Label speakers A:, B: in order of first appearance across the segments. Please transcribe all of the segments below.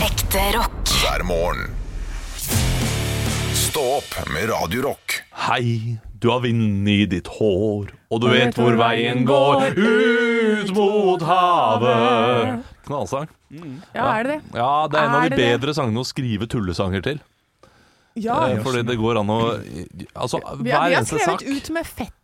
A: Ekte rock.
B: hver morgen. Stå opp med Radio Rock.
C: Hei, du har vind i ditt hår, og du vet hvor veien går ut mot havet. Knallsang.
D: Ja, er det det?
C: Ja, det er en av
D: Er
C: de
D: det det?
C: bedre sangene å skrive tullesanger til.
D: Ja.
C: Eh, Fordi det går an å Altså,
D: Vi, har- vi
C: hver
D: har
C: eneste sak.
D: skrevet ut med fettet.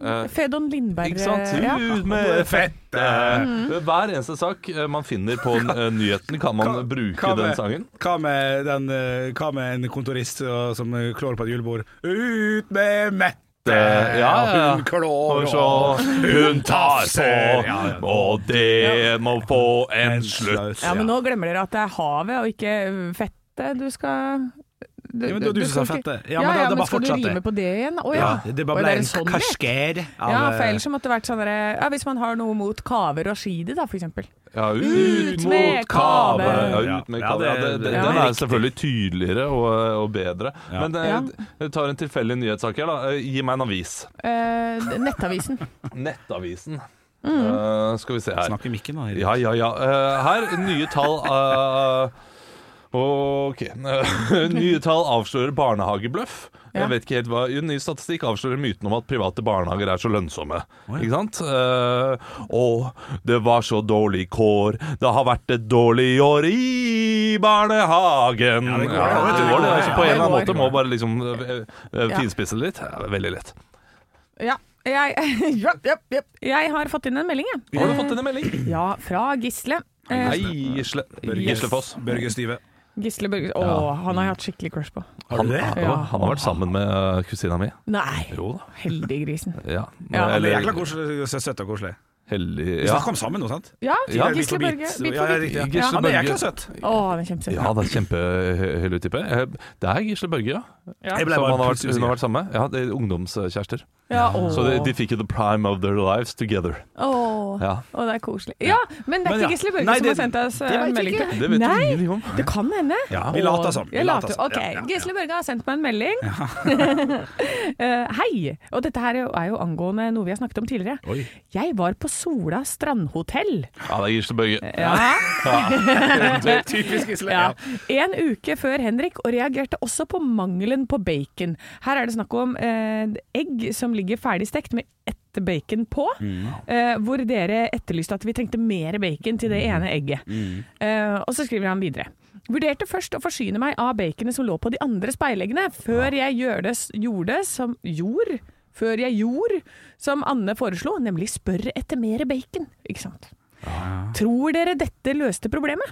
C: Eh,
D: Fedon Lindberg. eh,
C: Ikke sant?
D: Ja. Mm.
C: Ut med fettet! Hver eneste sak eh, man finner på eh, nyheten, kan man bruke den sangen.
E: Hva med, den, eh, hva med en kontorist eh, som eh, klår på et julebord? Ut med mette!
C: Eh, ja, ja.
E: Hun klår
C: Og så hun tar
E: Ja, ja.
C: på, og det må få en slutt.
E: Slutt.
D: ja, men nå glemmer dere at det er havet og ikke eh, fettet du skal
E: Ja, men det var du som sa
D: skal ikke-
E: fettet. Ja, men da- det bare
D: skal
E: fortsatte.
D: du rime på det igjen? Å ja.
E: Ja, det
D: Oi,
E: bare
D: det
E: ble
D: er
E: en
D: en sånn lek.
E: karsker av
D: Ja,
E: eh,
D: for ellers så måtte det vært sånn derre ja, Hvis man har noe mot kaver og skider, da, for eksempel.
C: Ja, ut,
D: Ut med
C: mot kave!
E: kave.
C: Ja, ut med
E: Ja,
C: kave. Ja, det,
E: det-
C: det, den
E: det- det er
C: er
E: riktig.
C: selvfølgelig tydeligere og, og bedre. Men eh,
D: Ja.
C: jeg tar en tilfeldig nyhetssak her, da. Eh, Gi meg en avis.
D: Eh, nettavisen.
C: Nettavisen.
D: Mm.
C: Eh, skal vi se her.
E: Snakk i mikken, da. Erik.
C: Ja, ja, ja. Eh, her, nye tall eh, OK. Eh, nye tall avslører barnehagebløff.
D: Ja.
C: Jeg vet ikke helt hva jo, Ny statistikk avslører myten om at private barnehager er så lønnsomme. Ikke sant? Eh, å, det var så dårlig kår. Det har vært et dårlig år i barnehagen. Ja,
E: det går,
C: det
E: ja, det går,
C: går, det. Altså,
E: ja,
C: på en
D: ja,
C: eller annen
D: det går.
C: måte må bare liksom eh, eh,
D: Ja.
C: finspisse det litt. Ja, det er veldig lett.
D: Ja. Jeg, ja, ja, ja. jeg har fått inn en melding, jeg.
C: Har du fått inn en melding?
D: Ja, fra Gisle. Eh,
C: Hei, Gisle.
E: Børge-
C: Gisle Foss.
E: Børge Stive.
D: Gisle Børge Å, han har jeg hatt skikkelig crush på.
E: Har du det?
C: Han,
D: Ja.
C: han har vært sammen med eh, kusina mi.
D: Nei,
C: Jo da.
D: heldiggrisen.
C: Ja.
D: Ja,
E: Han er
C: Eller
E: jækla koselig, sø- søt og koselig.
C: hellig
E: Vi
C: ja.
E: snakker om sammen nå, sant?
D: Ja,
C: Ja,
E: Bit
D: Gisle
E: for bit.
D: Børge. Bit
E: Ja, ja,
D: for bit.
E: riktig, ja.
C: Gisle
E: Han er
C: Børge.
E: jækla søt.
D: Å, han er kjempesøt.
C: ja, det er kjempehyggelig type. Eh, Det er Gisle Børge, ja.
D: Ja.
E: Jeg ble
C: Som
E: bare
C: han har vært,
E: plutselig
C: hun har
E: usikker.
C: vært sammen med. Ja, det er Ungdomskjærester.
D: Ja, å.
C: Så de, de fikk jo the prime of their lives together.
D: Åh,
C: Ja.
D: Åh, det er koselig. Ja, men det
E: Men
D: er ikke
E: ja.
D: Gisle Børge
E: Nei,
D: som
E: det-
D: har sendt oss
E: det
D: eh,
E: vet jeg
D: melding.
E: ikke.
C: Det vet
D: Nei,
C: du ingenting om.
D: det kan hende.
E: Ja, vi later som. Vi
D: Jeg
E: later
D: later.
E: som.
D: Ok,
E: Ja, ja, ja.
D: Gisle Børge har sendt meg en melding. Eh, hei, og dette her er jo angående noe vi har snakket om tidligere.
E: Oi.
D: Jeg var på Sola strandhotell.
C: Ja, det er Gisle Børge.
D: Ja.
E: Typisk Gisle.
D: Ja.
E: Ja.
D: En uke før Henrik, og reagerte også på mangelen på bacon. Her er det snakk om eh, egg som ligger ferdig stekt med ett bacon på, eh, hvor dere etterlyste at vi trengte mer bacon til det ene egget. Eh, og så skriver han videre. Vurderte først å forsyne meg av baconet som lå på de andre speileggene, før jeg gjør det, gjorde som jord, før jeg gjorde som Anne foreslo, nemlig spør etter mer bacon. Ikke sant? Tror dere dette løste problemet?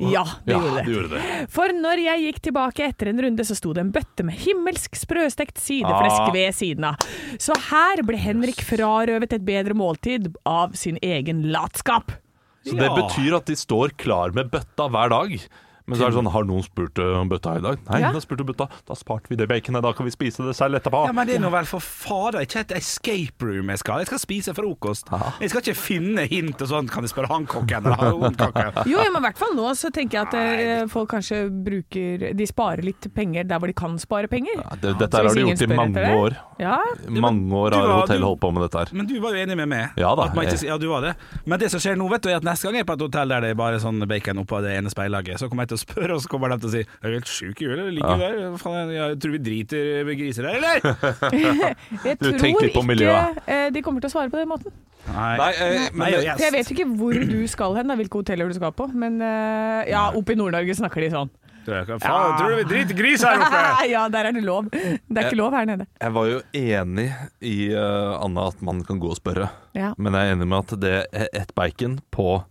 D: Ja, det
C: Ja,
D: gjorde
C: det
D: det.
C: gjorde det.
D: For når jeg gikk tilbake etter en runde, så sto det en bøtte med himmelsk sprøstekt sideflesk
C: Ah.
D: ved siden av. Så her ble Henrik frarøvet et bedre måltid av sin egen latskap.
C: Så det
E: Ja.
C: betyr at de står klar med bøtta hver dag. Men så er det sånn, har noen spurt eh, om bøtta i dag? Nei,
D: Ja.
C: ja. da spurte bøtta. Da sparte vi det baconet, da kan vi spise det selv etterpå.
E: men det er nå vel for fader ikke et escape room jeg skal. Jeg skal spise frokost. Jeg skal ikke finne hint og sånn. Kan jeg spørre han kokken eller hun kokken?
D: Jo, ja, men i hvert fall nå så tenker jeg at eh, folk kanskje bruker De sparer litt penger der hvor de kan spare penger.
C: Ja, det, dette
D: Så
C: her har
D: hvis
C: de gjort
D: ingen
C: i
D: spør etter
C: mange år.
D: det- Ja.
C: Mange år
E: du
C: har
E: var-
C: hotell
E: du-
C: holdt på med dette her.
E: Men du var jo enig med meg.
C: Ja da,
E: At man
C: jeg-
E: ikke, ja, du var det. Men det som skjer nå, vet du, er at neste gang jeg er på et hotell der det er bare sånn bacon oppå det ene speillaget, så kommer jeg til å spørre, og så kommer de til å si Er du helt sjuk i huet, eller? Ligger du der? Hva Faen, jeg tror vi driter i griser her, eller?
D: Jeg
C: Du,
D: tror
C: tenk litt på
D: ikke
C: miljøet.
D: eh, de kommer til å svare på den måten.
E: Nei.
C: Nei, eh, men,
E: Nei,
D: For jeg vet jo ikke hvor du skal hen, da, hvilke hoteller du skal på, men eh, ja, oppe i Nord-Norge snakker de sånn.
E: Faen, tror du vi driter i gris her oppe?
D: ja, der er det lov. Det er ikke lov her nede.
C: Jeg var jo enig i eh, Anna at man kan gå og spørre,
D: Ja.
C: men jeg er enig med at det er ett bacon på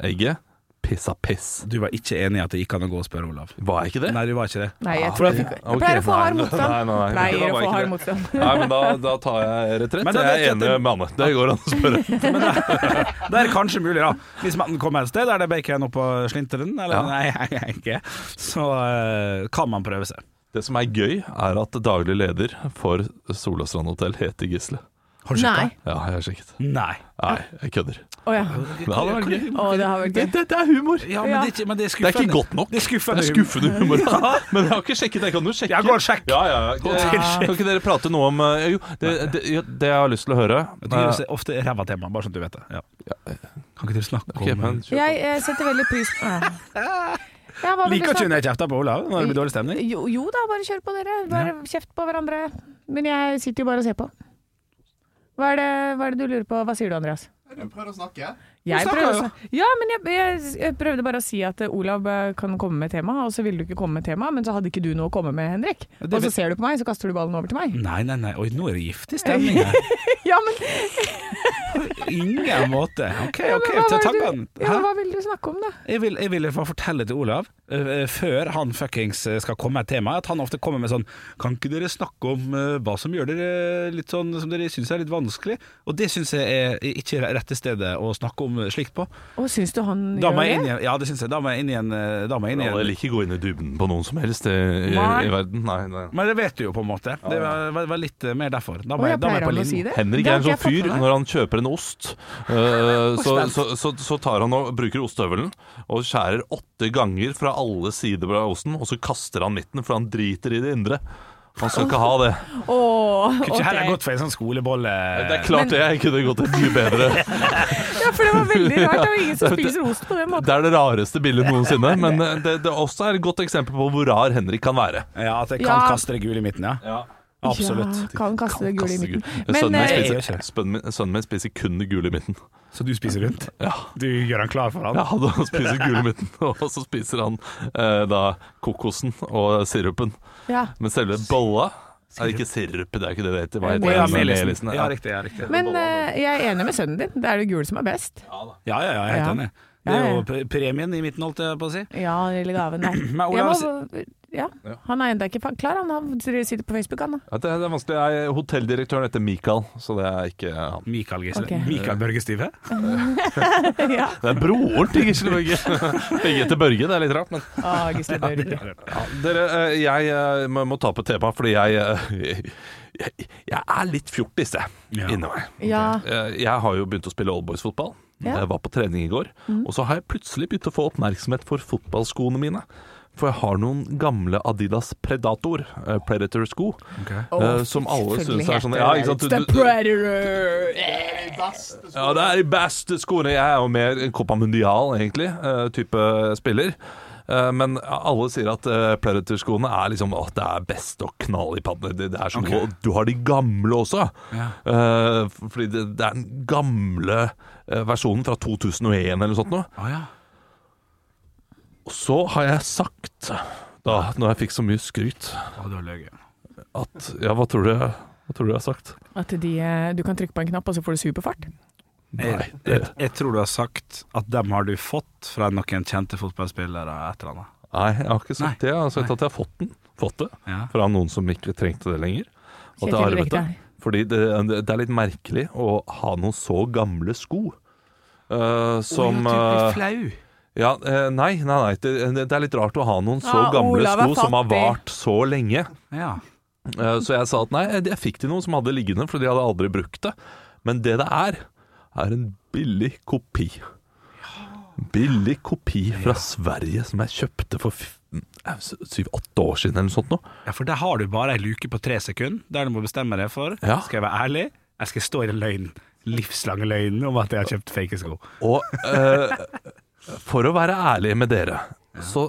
C: egget. Piss av piss.
E: Du var ikke enig i at det gikk an å gå og spørre Olav?
C: Var jeg ikke det?
E: Nei, du var ikke det.
D: Nei, jeg,
C: Ah,
D: tror jeg,
C: ok.
D: fikk, jeg pleier å få
C: Nei,
D: hard
C: nei,
D: motstand.
C: nei, nei, nei.
D: Pleier
C: Da var
D: å
C: jeg
D: få
C: ikke
D: hard
C: det.
D: motstand.
C: Nei, men da, da tar jeg retrett.
E: Men da
C: Jeg
E: vet
C: er
E: jeg at
C: enig
E: det-
C: med Anne. Det går an å spørre.
E: Men det, det er kanskje mulig, da. Hvis man kommer et sted der det er bacon oppå slinteren, eller
C: Ja.
E: nei, jeg er ikke, så eh, kan man prøve seg.
C: Det som er gøy, er at daglig leder for Solastrand hotell heter Gisle.
E: Har du
D: Nei.
E: sjekket?
C: Ja, jeg har sjekket.
E: Nei.
C: Nei, jeg kødder.
D: Å ja.
C: Det hadde vært gøy.
D: Å, det har vært
C: Det,
D: gøy.
C: det, det er humor.
E: Ja, men det, er ikke- men det er
C: Det
E: skuffende.
C: er ikke godt nok.
E: Det er skuffende.
C: Det er skuffende humor. Men jeg har ikke sjekket. Jeg kan jo sjekke.
E: Ja, gå og sjekk.
C: Ja, ja, ja.
E: og sjekk.
C: Kan ikke dere prate noe om eh, Jo, det, det, ja, det jeg har lyst til å høre
E: Det gjør seg ofte ræva tema, bare sånn at du vet det. Ja. Kan ikke du snakke
C: Ok,
E: om
C: men kjør på.
D: Jeg eh, setter veldig pris på ja. Ja, hva vil du
E: Liker ikke
D: snakke-
E: hun jeg kjefta på, Olav, når det blir dårlig stemning?
D: Jo, jo da, bare kjør på dere. Bare kjeft på hverandre. Men jeg sitter jo bare og ser på. Hva er, det, hva er det du lurer på? Hva sier du, Andreas? Du altså. prøver å snakke, jeg.
E: snakker,
D: prøver å sn- ja, men jeg, jeg, jeg prøvde bare å si at eh, Olav eh, kan komme med tema, og så ville du ikke komme med tema, men så hadde ikke du noe å komme med, Henrik.
E: Ja, det
D: Og så
E: vil-
D: ser du på meg, så kaster du ballen over til meg.
E: Nei, nei, nei. Oi, nå er det giftig stemning her.
D: Ja, men,
E: Ingen måte. OK,
D: ja,
E: OK,
D: men hva,
E: ta
D: var det du,
E: tankene.
D: ja,
E: Hæ?
D: men hva vil du snakke om, da?
E: Jeg vil, jeg vil bare fortelle til Olav, eh, eh, før han fuckings eh, skal komme med et tema, at han ofte kommer med sånn Kan ikke dere snakke om eh, hva som gjør dere litt sånn som dere syns er litt vanskelig? Og det syns jeg er ikke rette stedet å snakke om slikt på.
D: Og syns du han
E: Da må
D: gjør
E: jeg inn
D: det?
E: igjen. Ja, det syns jeg. Da må jeg inn igjen. eh, Da må jeg inn
C: Jeg vil
E: igjen.
C: ikke gå inn i dybden på noen som helst i, i,
D: Nei.
C: i verden. Nei, nei.
E: Men det vet du jo, på en måte. Det var, var- var litt eh, mer derfor. Da
D: Å,
E: må
D: ja,
E: jeg, da må
D: pleier
E: jeg på
D: han å si
E: linjen.
D: det?
C: Henrik
D: Det
C: er
D: har
C: en
D: ikke
C: sånn
D: jeg fått
C: fyr,
D: med meg.
C: når han kjøper en ost, øh, så, så, så, så tar han og bruker ostehøvelen og skjærer åtte ganger fra alle sider av osten, og så kaster han midten, for han driter i det indre. Han skal ikke ha det.
D: Åh,
E: Kunne ikke heller
D: ok.
E: gått for en sånn skolebolle
C: Eh, Det er klart det, jeg kunne gått et mye bedre.
D: Ja, for det var veldig rart. Det var ingen som spiser ost på den måten.
C: Det er det rareste bildet noensinne, men øh, det, det også er et godt eksempel på hvor rar Henrik kan være.
E: Ja, at jeg kan
D: Ja.
E: kaste det gule i midten, ja. Absolutt.
D: Ja, kan kaste det gule i midten.
C: Sønnen min
D: eh,
E: jeg
C: spiser,
E: gjør ikke det.
C: sønnen min- sønnen min spiser kun det gule i midten.
E: Så du spiser rundt?
C: Ja.
E: Du gjør han klar for han?
C: Ja, han spiser gule midten, og så spiser han eh, da kokosen og sirupen.
D: ja.
C: Men selve bolla er ikke sirup, det er ikke det det heter. Hva
E: Å,
C: heter
E: ja,
C: det?
E: melisen.
C: Melisen,
E: Ja,
C: ja.
E: riktig. Ja, riktig.
D: Men eh, jeg er enig med sønnen din. Det er det gule som er best.
E: Ja, ja, ja, jeg er helt
D: Ja.
E: enig. Det er
D: Ja,
E: jo
D: ja.
E: pre- premien i midten, holdt jeg på å si.
D: Ja, eller gaven. Nei.
E: Men Olav,
D: Jeg må, ja. Han er ennå ikke fa- klar, han. Han sitter på Facebook, han. da.
C: Ja, det, det er vanskelig. Jeg er hotelldirektøren heter Mikael, så det er ikke han.
E: Mikael Gisle.
D: Ok.
E: Mikael Børge Stive?
D: ja.
C: Det er broren til Gisle Børge. Begge heter Børge, det er litt rart, men
D: Å, Gisle Børge.
C: ja, Dere, eh, jeg eh, må må ta på temaet, fordi jeg eh, Jeg, jeg er litt fjortis, jeg,
E: Ja.
C: inni meg.
D: Ja.
C: Eh, Jeg har jo begynt å spille oldboysfotball.
D: Ja. Mm.
C: Jeg var på trening i går. Og så har jeg plutselig begynt å få oppmerksomhet for fotballskoene mine. For jeg har noen gamle Adidas Predator, eh, Predator-sko, eh, som alle syns er sånne ja, ikke sant?
D: It's
C: Du-
D: the
C: du-
D: predator!
C: ja, det er de beste skoene. Jeg er jo mer en Copa Mundial, egentlig, eh, type spiller. Eh, Men alle sier at eh, Predator-skoene er liksom Åh, det er best å knalle i paddene. Det, det er så
E: Ok.
C: gode. Du har de gamle også.
E: Ja.
C: Eh, f- fordi det, det er den gamle eh, versjonen fra 2001 eller noe sånt noe.
E: Å ja.
C: Og så har jeg sagt, da, når jeg fikk så mye skryt,
E: Å, du har løyet.
C: at Ja, hva tror du, hva tror du jeg har sagt?
D: At de, eh, du kan trykke på en knapp, og så får du superfart.
E: Jeg, jeg,
C: det-
E: jeg tror du har sagt at dem har du fått fra noen kjente fotballspillere, et eller annet.
C: Nei, jeg har ikke sagt
E: Nei.
C: det. Jeg har sagt at jeg har fått den. Fått det.
E: Ja.
C: fra noen som ikke trengte det lenger. At jeg
D: Kjetil
C: arvet det.
D: Rekdal.
C: Fordi det, det er litt merkelig å ha noen så gamle sko. eh, som eh,
E: flau.
C: ja, eh, Nei, nei, nei det, det er litt rart å ha noen så
D: Ah,
C: gamle
D: Olav er
C: sko som har
D: fattig.
C: vart så lenge.
E: Ja.
C: Eh, så jeg sa at nei, jeg fikk til noen som hadde liggende, for de hadde aldri brukt det. Men det det er, er en billig kopi. Billig kopi fra Sverige som jeg kjøpte for f- eh, syv-åtte år siden eller noe sånt. Nå.
E: ja, for der har du bare ei luke på tre sekunder der du må bestemme deg for.
C: Ja.
E: Skal jeg være ærlig? Jeg skal stå i den løgnen. Livslange løgnen om at jeg har kjøpt fake sko.
C: Og eh, for å være ærlig med dere, så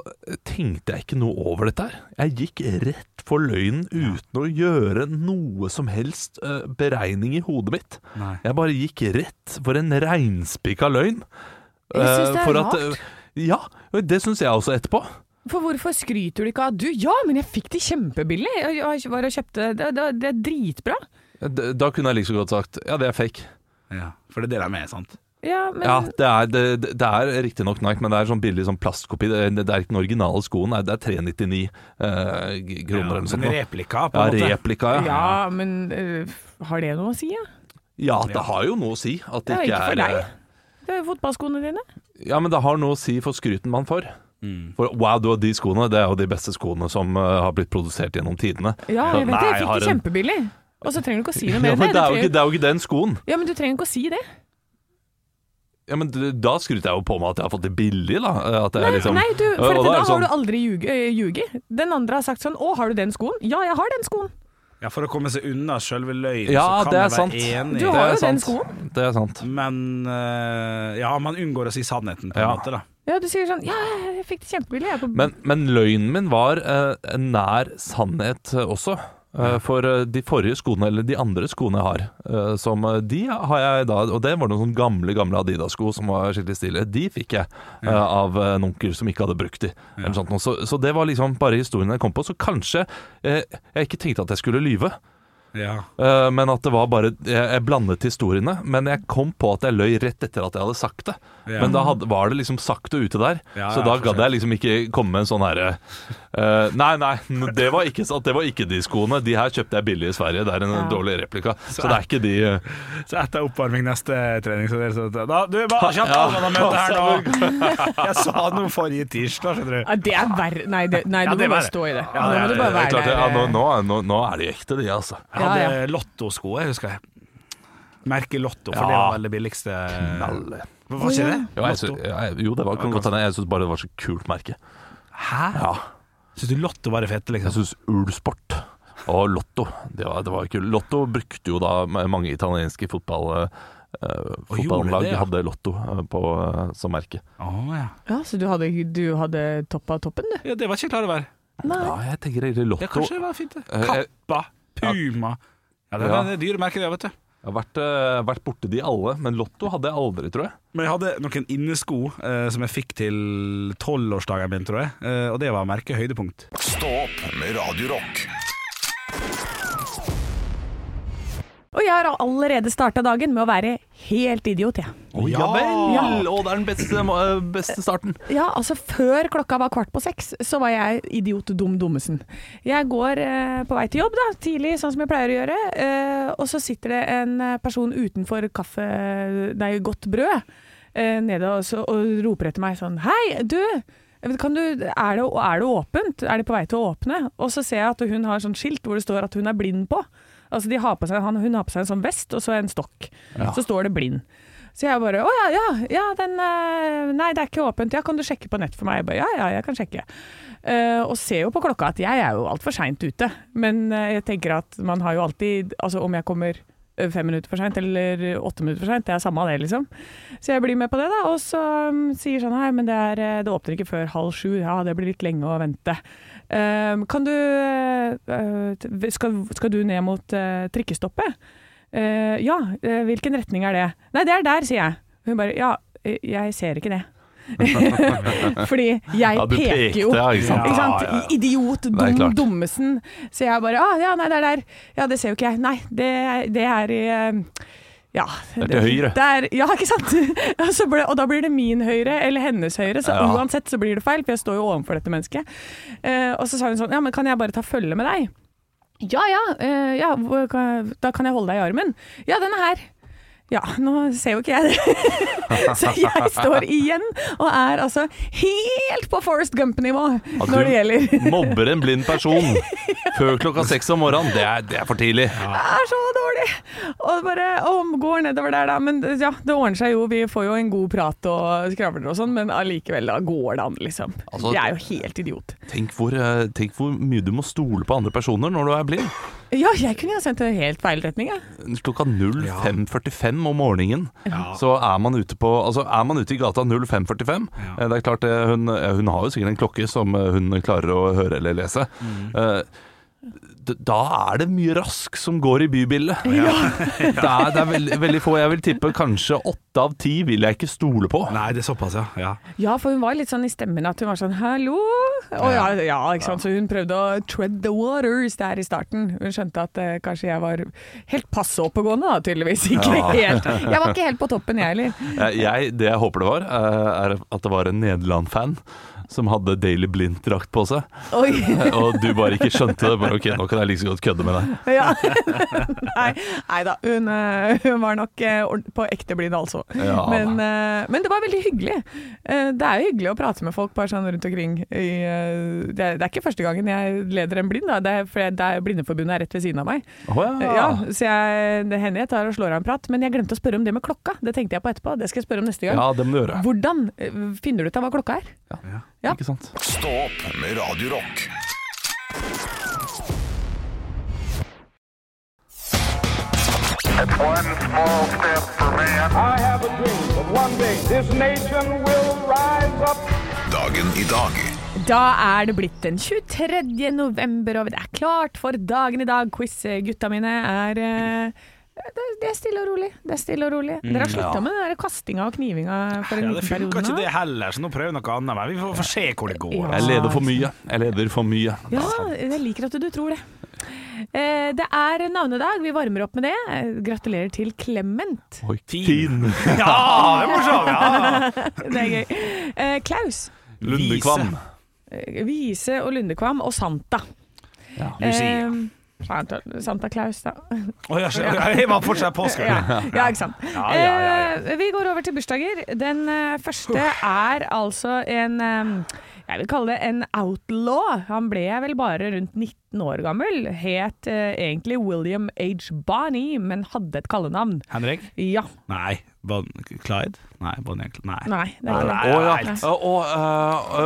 C: tenkte jeg ikke noe over dette her. Jeg gikk rett for løgnen uten å gjøre noe som helst eh, beregning i hodet mitt.
E: Nei.
C: Jeg bare gikk rett for en reinspikka løgn.
D: Jeg synes
C: Eh,
D: det er
C: for at,
D: rart.
C: eh, ja, det syns jeg også etterpå.
D: For hvorfor skryter du ikke av Du, ja, men jeg fikk de kjempebillig! Jeg, jeg var og kjøpte det, det, det er dritbra.
C: D- Da kunne jeg like så godt sagt ja, det er fake.
E: Ja, for det er det de er, sant?
D: Ja, men
C: Ja, det er, det, det- det er riktignok Nike, men det er sånn billig sånn plastkopi. Det, det er ikke den originale skoen, nei, det er 399 eh, g- kroner eller noe sånt.
E: en
C: nå.
E: replika, på
C: Ja,
E: en måte.
C: replika, ja. ja.
D: Ja, men øh, har det noe å si? Ja?
C: det har jo noe å si. At
D: Det
C: det
D: er
C: ikke
D: ikke for
C: er
D: deg.
C: eh,
D: Det er jo fotballskoene dine.
C: Ja, men det har noe å si for skryten man får.
E: Mm.
C: For wow, du har de skoene. Det er jo de beste skoene som eh, har blitt produsert gjennom tidene.
D: Ja, jeg vet det. Jeg
C: Nei,
D: fikk
C: har
D: det
C: en-
D: kjempebillig. Og så trenger du ikke å si
C: Ja,
D: noe mer
C: men
D: enn det.
C: det er jo
D: Du
C: ikke,
D: trenger,
C: det er jo ikke den skoen.
D: ja, men du trenger ikke å si det.
C: Ja, men d- Da skryter jeg jo på meg at jeg har fått det billig, da. eh, At jeg
D: Nei,
C: liksom,
D: nei du,
C: og da
D: for da,
C: er det
D: har du eh,
C: sånn-
D: aldri ljuge- øh, ljuget. Den andre har sagt sånn 'Å, har du den skoen?' Ja, jeg har den skoen.
E: Ja, For å komme seg unna sjølve løgnen,
C: Ja,
E: så kan
C: det er
E: jeg være
C: sant.
D: Du
E: enig.
C: Det
D: har
C: er
D: jo den
C: sant.
D: skoen.
C: Det er sant.
E: Men eh, ja, man unngår å si sannheten, på en
C: Ja.
E: måte, da.
D: Ja, du sier sånn Ja, jeg fikk det kjempebillig, jeg. På
C: Men, men løgnen min var eh, nær sannhet eh, også. Eh, for eh, de forrige skoene, eller de andre skoene jeg har, eh, som eh, de har jeg da Og det var noen sånne gamle gamle Adidas-sko som var skikkelig stille. De fikk jeg eh, av eh, en onkel som ikke hadde brukt de. Eller sånt noe. så, så det var liksom bare historien jeg kom på. Så kanskje eh, jeg ikke tenkte at jeg skulle lyve.
E: Ja.
C: Eh, men at det var bare jeg, jeg blandet historiene. Men jeg kom på at jeg løy rett etter at jeg hadde sagt det.
E: Ja.
C: Men da hadde, var det liksom sagt og ute der.
E: Ja,
C: så
E: ja,
C: da
E: for
C: gadd
E: sent.
C: jeg liksom ikke komme med en sånn herre eh, Nei, nei, n- det var, ikke, sant, det var ikke de skoene. De her kjøpte jeg billig i Sverige. Det er en dårlig replika. Så, det er ikke de eh,
E: Så etter oppvarming neste trening så dere så da, Du, bare kjapt
C: Ja.
E: alle møte her nå! Jeg sa noe forrige tirsdag, skjønner du.
D: ja, det er verre Nei, det, nei
E: Ja,
D: du
E: det
D: må
E: er
D: bare
E: verre.
D: stå i det.
E: Ja,
D: nå må
E: det
D: du bare
C: det er
D: være
C: eh, klart, ja, nå,
D: der.
C: nå, er- nå, nå er de ekte, de, altså.
E: Jeg hadde
D: Ja,
E: lottosko, jeg husker jeg. Merket Lotto, for
C: Ja.
E: det var vel det billigste
C: Alle.
E: Var ikke det?
C: Jo, jeg, sy-
E: Lotto.
C: jeg, jo, det var kan godt hende. Jeg syns bare det var så kult merke.
E: Hæ?
C: Ja.
E: Syns du Lotto var det fete,
C: Jeg
E: liksom?
C: syns Ulsport og Lotto det var, det var kult. Lotto brukte jo da mange italienske fotball, eh,
E: gjorde
C: fotballag
E: det, ja.
C: hadde Lotto eh, på, eh, som merke.
E: Å ja.
D: Ja, så du hadde, du hadde toppa toppen, du?
E: ja. Det var ikke jeg klar over.
D: Nei.
C: Ja, jeg tenker egentlig
E: Ja,
C: Lotto.
E: kanskje det var fint, det.
C: Eh, jeg-
E: Kappa, Puma Ja, det
C: Ja.
E: er det dyre merker, det, vet du.
C: Jeg har vært, eh, vært borte de alle, men Lotto hadde jeg aldri, tror jeg.
E: Men jeg hadde noen innesko eh, som jeg fikk til tolvårsdagen min, tror jeg. Eh, og det var merket høydepunkt.
B: Stå opp med Radio Rock.
D: Og jeg har allerede starta dagen med å være helt idiot, jeg.
C: Å ja vel! Og det er den beste, eh, beste starten.
D: Ja, altså før klokka var kvart på seks, så var jeg idiot dum dummesen. Jeg går eh, på vei til jobb da, tidlig, sånn som jeg pleier å gjøre, eh, og så sitter det en eh, person utenfor kaffe, nei, godt brød, eh, nede og, så, og roper etter meg sånn, hei, du! Kan du, er, det, er det åpent? Er det på vei til å åpne? Og så ser jeg at hun har sånn skilt hvor det står at hun er blind på. Altså de har på seg, han, hun har på seg en sånn vest og så en stokk. Så står det blind. Så jeg bare Å ja, ja, ja den eh, Nei, det er ikke åpent. Ja, kan du sjekke på nett for meg? Jeg bare, ja, ja, jeg kan sjekke. Eh, og ser jo på klokka at jeg er jo altfor seint ute. Men eh, jeg tenker at man har jo alltid Altså om jeg kommer eh, fem minutter for seint eller åtte minutter for seint, det er samme det, liksom. Så jeg blir med på det, da. Og så mm, sier sånn Nei, men det, er, eh, det åpner ikke før halv sju. Ja, det blir litt lenge å vente. Eh, kan du eh, eh, skal, skal du ned mot eh, trikkestoppet? Eh, ja, eh, hvilken retning er det? Nei, det er der, sier jeg. Hun bare ja, eh, jeg ser ikke det. Fordi jeg
C: Ja, du
D: peker
C: pekte,
D: jo.
C: ja, ikke sant?
D: Ikke sant?
C: Ja, ja, ja.
D: Idiot,
C: er
D: dum,
C: klart.
D: dummesen. Så jeg bare ah, ja, nei, det er der. Ja, det ser jo ikke jeg. Nei, det, det er i eh, ja,
C: Det er til høyre.
D: det er- ja, ikke sant? Og så ble, og da blir det min høyre eller hennes høyre, så
C: Ja.
D: uansett så blir det feil, for jeg står jo overfor dette mennesket. Eh, og så sa hun sånn, ja, men kan jeg bare ta følge med deg? Ja, ja, eh, ja hvor kan- da kan jeg holde deg i armen. Ja, den er her. Ja, nå ser jo ikke jeg det. så jeg står igjen og er altså helt på Forest Gump-nivå
C: At
D: når det
C: du
D: gjelder.
C: mobber en blind person før klokka seks om morgenen, det er, det er for tidlig.
D: Det er så dårlig! Og bare og går nedover der, da. Men ja, det ordner seg jo. Vi får jo en god prat og skravler og sånn, men allikevel, da går det an, liksom.
C: Altså-
D: jeg er jo helt idiot.
C: Tenk hvor, eh, tenk hvor mye du må stole på andre personer når du er blind.
D: Ja, jeg kunne jo sendt det helt feil retning, jeg.
C: klokka 05.45 om morgenen, så er man ute på Altså, er man ute i gata 05.45
E: Ja.
C: eh, Det er klart, eh, hun, eh, hun har jo sikkert en klokke som eh, hun klarer å høre eller lese.
E: Mm.
C: Eh, d- Da er det mye rask som går i bybildet. Det er, det er veldig, veldig få. Jeg vil tippe kanskje åtte av ti vil jeg ikke stole på.
E: Nei, det er såpass, ja. ja.
D: Ja, for hun var litt sånn i stemmen at hun var sånn 'hallo'. Og ja, ja, ikke sant. Så hun prøvde å tread the waters der i starten. Hun skjønte at eh, kanskje jeg var helt passe oppegående, da, tydeligvis. Ikke helt. Jeg var ikke helt på toppen, jeg heller.
C: Eh, Jeg, det jeg håper det var, eh, er at det var en Nederland-fan som hadde Daily Blind-drakt på seg,
D: Oi.
C: eh, og du bare ikke skjønte det. Bare ok, nå kan jeg like så godt kødde med deg.
D: Ja. Nei, nei da, hun, eh, hun var nok eh, ord- på ekte blid, altså.
C: Ja,
D: men, eh, men det var veldig hyggelig. Eh, Det er jo hyggelig å prate med folk bare sånn rundt omkring. I, eh, det er det er ikke første gangen jeg leder en blind, da. Det er, for det er Blindeforbundet er rett ved siden av meg.
C: Å
D: Eh, Ja,
C: Ah.
D: så jeg, det hender jeg tar og slår av en prat, men jeg glemte å spørre om det med klokka. Det tenkte jeg på etterpå, det skal jeg spørre om neste gang.
C: Ja, det må du gjøre.
D: Hvordan eh, finner du ut av hva klokka er? Ja.
C: Ikke sant?
B: Stå opp med Radio Rock.
A: One small step for man.
F: I have a dream that one day this nation will rise up.
B: Dagen i dag
D: Da er det blitt den 23. november, og det er klart for dagen i dag. Quiz, eh, gutta mine, er eh, det, det er stille og rolig. Det er stille og rolig. Dere har slutta med den der kastinga og knivinga for en
E: Ja, det
D: liten periode
E: funka ikke
D: nå.
E: det heller, så nå prøver vi noe annet. Men vi får, får se hvor det går.
D: Ja.
C: Jeg leder for mye. Jeg leder for mye.
D: Ja, jeg liker at du tror det. Eh, Det er navnedag, vi varmer opp med det. Eh, Gratulerer til Clement.
C: Oi, Tin.
E: Ja, det er morsomt! Ja.
D: Det er gøy. Eh, Klaus,
C: Lundekvam.
E: Vise.
D: eh, Vise og Lundekvam og Santa.
E: Lucia.
D: Eh, Santa, Santa Claus, da.
E: Å, jeg, skjønner. jeg var fortsatt påske.
D: Ja, ja ikke sant.
E: Ja, ja, ja,
D: Eh, Vi går over til bursdager. Den eh, første er altså en eh, Jeg vil kalle det en outlaw. Han ble vel bare rundt 19 år gammel. Het eh, egentlig William H. Barney, men hadde et kallenavn.
E: Henrik?
D: Ja.
E: Nei. Bon Clyde? Nei. Bonnie and Clyde? Nei.
D: Nei, det er ikke
E: Nei.
D: det.
C: Å ja. Og